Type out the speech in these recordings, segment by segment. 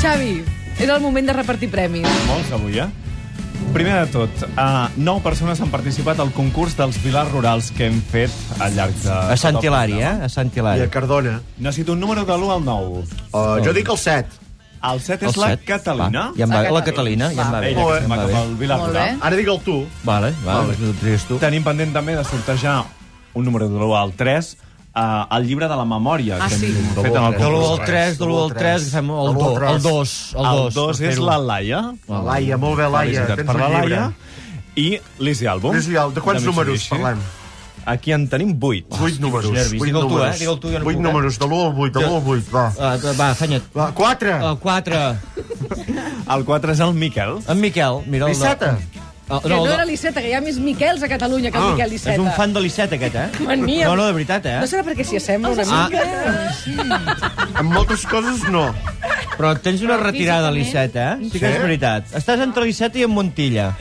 Xavi, és el moment de repartir premis. Molts avui, eh? Primer de tot, uh, 9 persones han participat al concurs dels vilars rurals que hem fet al llarg de... tota A Sant Hilari, eh? A Sant I el Hilari. Cardona. Necessito un número de l'1 al 9. Oh. Uh, jo dic el 7. El 7 és El la set. Catalina. Va, ja em va, la Catalina, ja em va Va. bé. Ella que Molt bé. se'n va Em va cap bé. al Vilar Molt Rural. bé. Ara dic el tu. Vale, va, el tries tu. Tenim pendent també de sortejar un número de l'1 al 3, eh, el llibre de la memòria Ah, que hem sí. fet amb el De l'1 concurs. al 3, de l'1 al 3, fem el 2, el 2, el 2. El 2 és la Laia. La Laia, molt bé, Laia. Felicitats Tens per un la llibre. Laia. I l'Isi Àlbum. Lluís Vial, de quants de números Mitsubishi. parlem? Aquí en tenim 8. Vuit números. Ah, nervis. Vuit Digue'l tu, eh? números. Digue'l tu, jo no Vuit puc, eh? números, de l'1 al 8, de l'1 al 8, va. Ah, va, afanya't. Va, quatre. El 4, El 4 és el Miquel. en Miquel. Mira, el de- Lisseta. El, Que ah, no, no el, era de- l'Iceta, que hi ha més Miquels a Catalunya Ah, que el Miquel Iceta. és un fan de l'Iceta, aquest, eh? Mania. No, no, de veritat, eh? No serà perquè s'hi assembla una Ah. mica? Amb moltes coses, no. Però tens una retirada a l'Iceta, eh? Sí que és veritat. Estàs entre l'Iceta i en Montilla.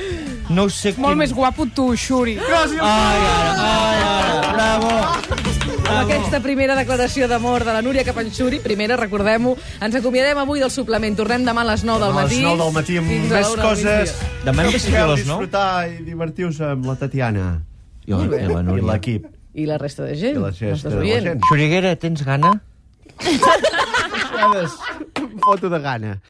No sé quin... Molt més guapo tu, Xuri. Gràcies. Ai, ara, ai, ara, bravo. Ah. Amb aquesta primera declaració d'amor de la Núria Capanxuri, primera, recordem-ho, ens acomiadem avui del suplement. Tornem demà a les 9 del A matí. les 9 del matí amb fins a la més una del coses. migdia. Demà hem de seguir a les 9. Disfrutar i divertir-vos amb la Tatiana Jo, eh, la i Núria. l'equip. I la resta de gent. I la resta nostres de la oients. gent. Xuriguera, tens gana? Foto de gana.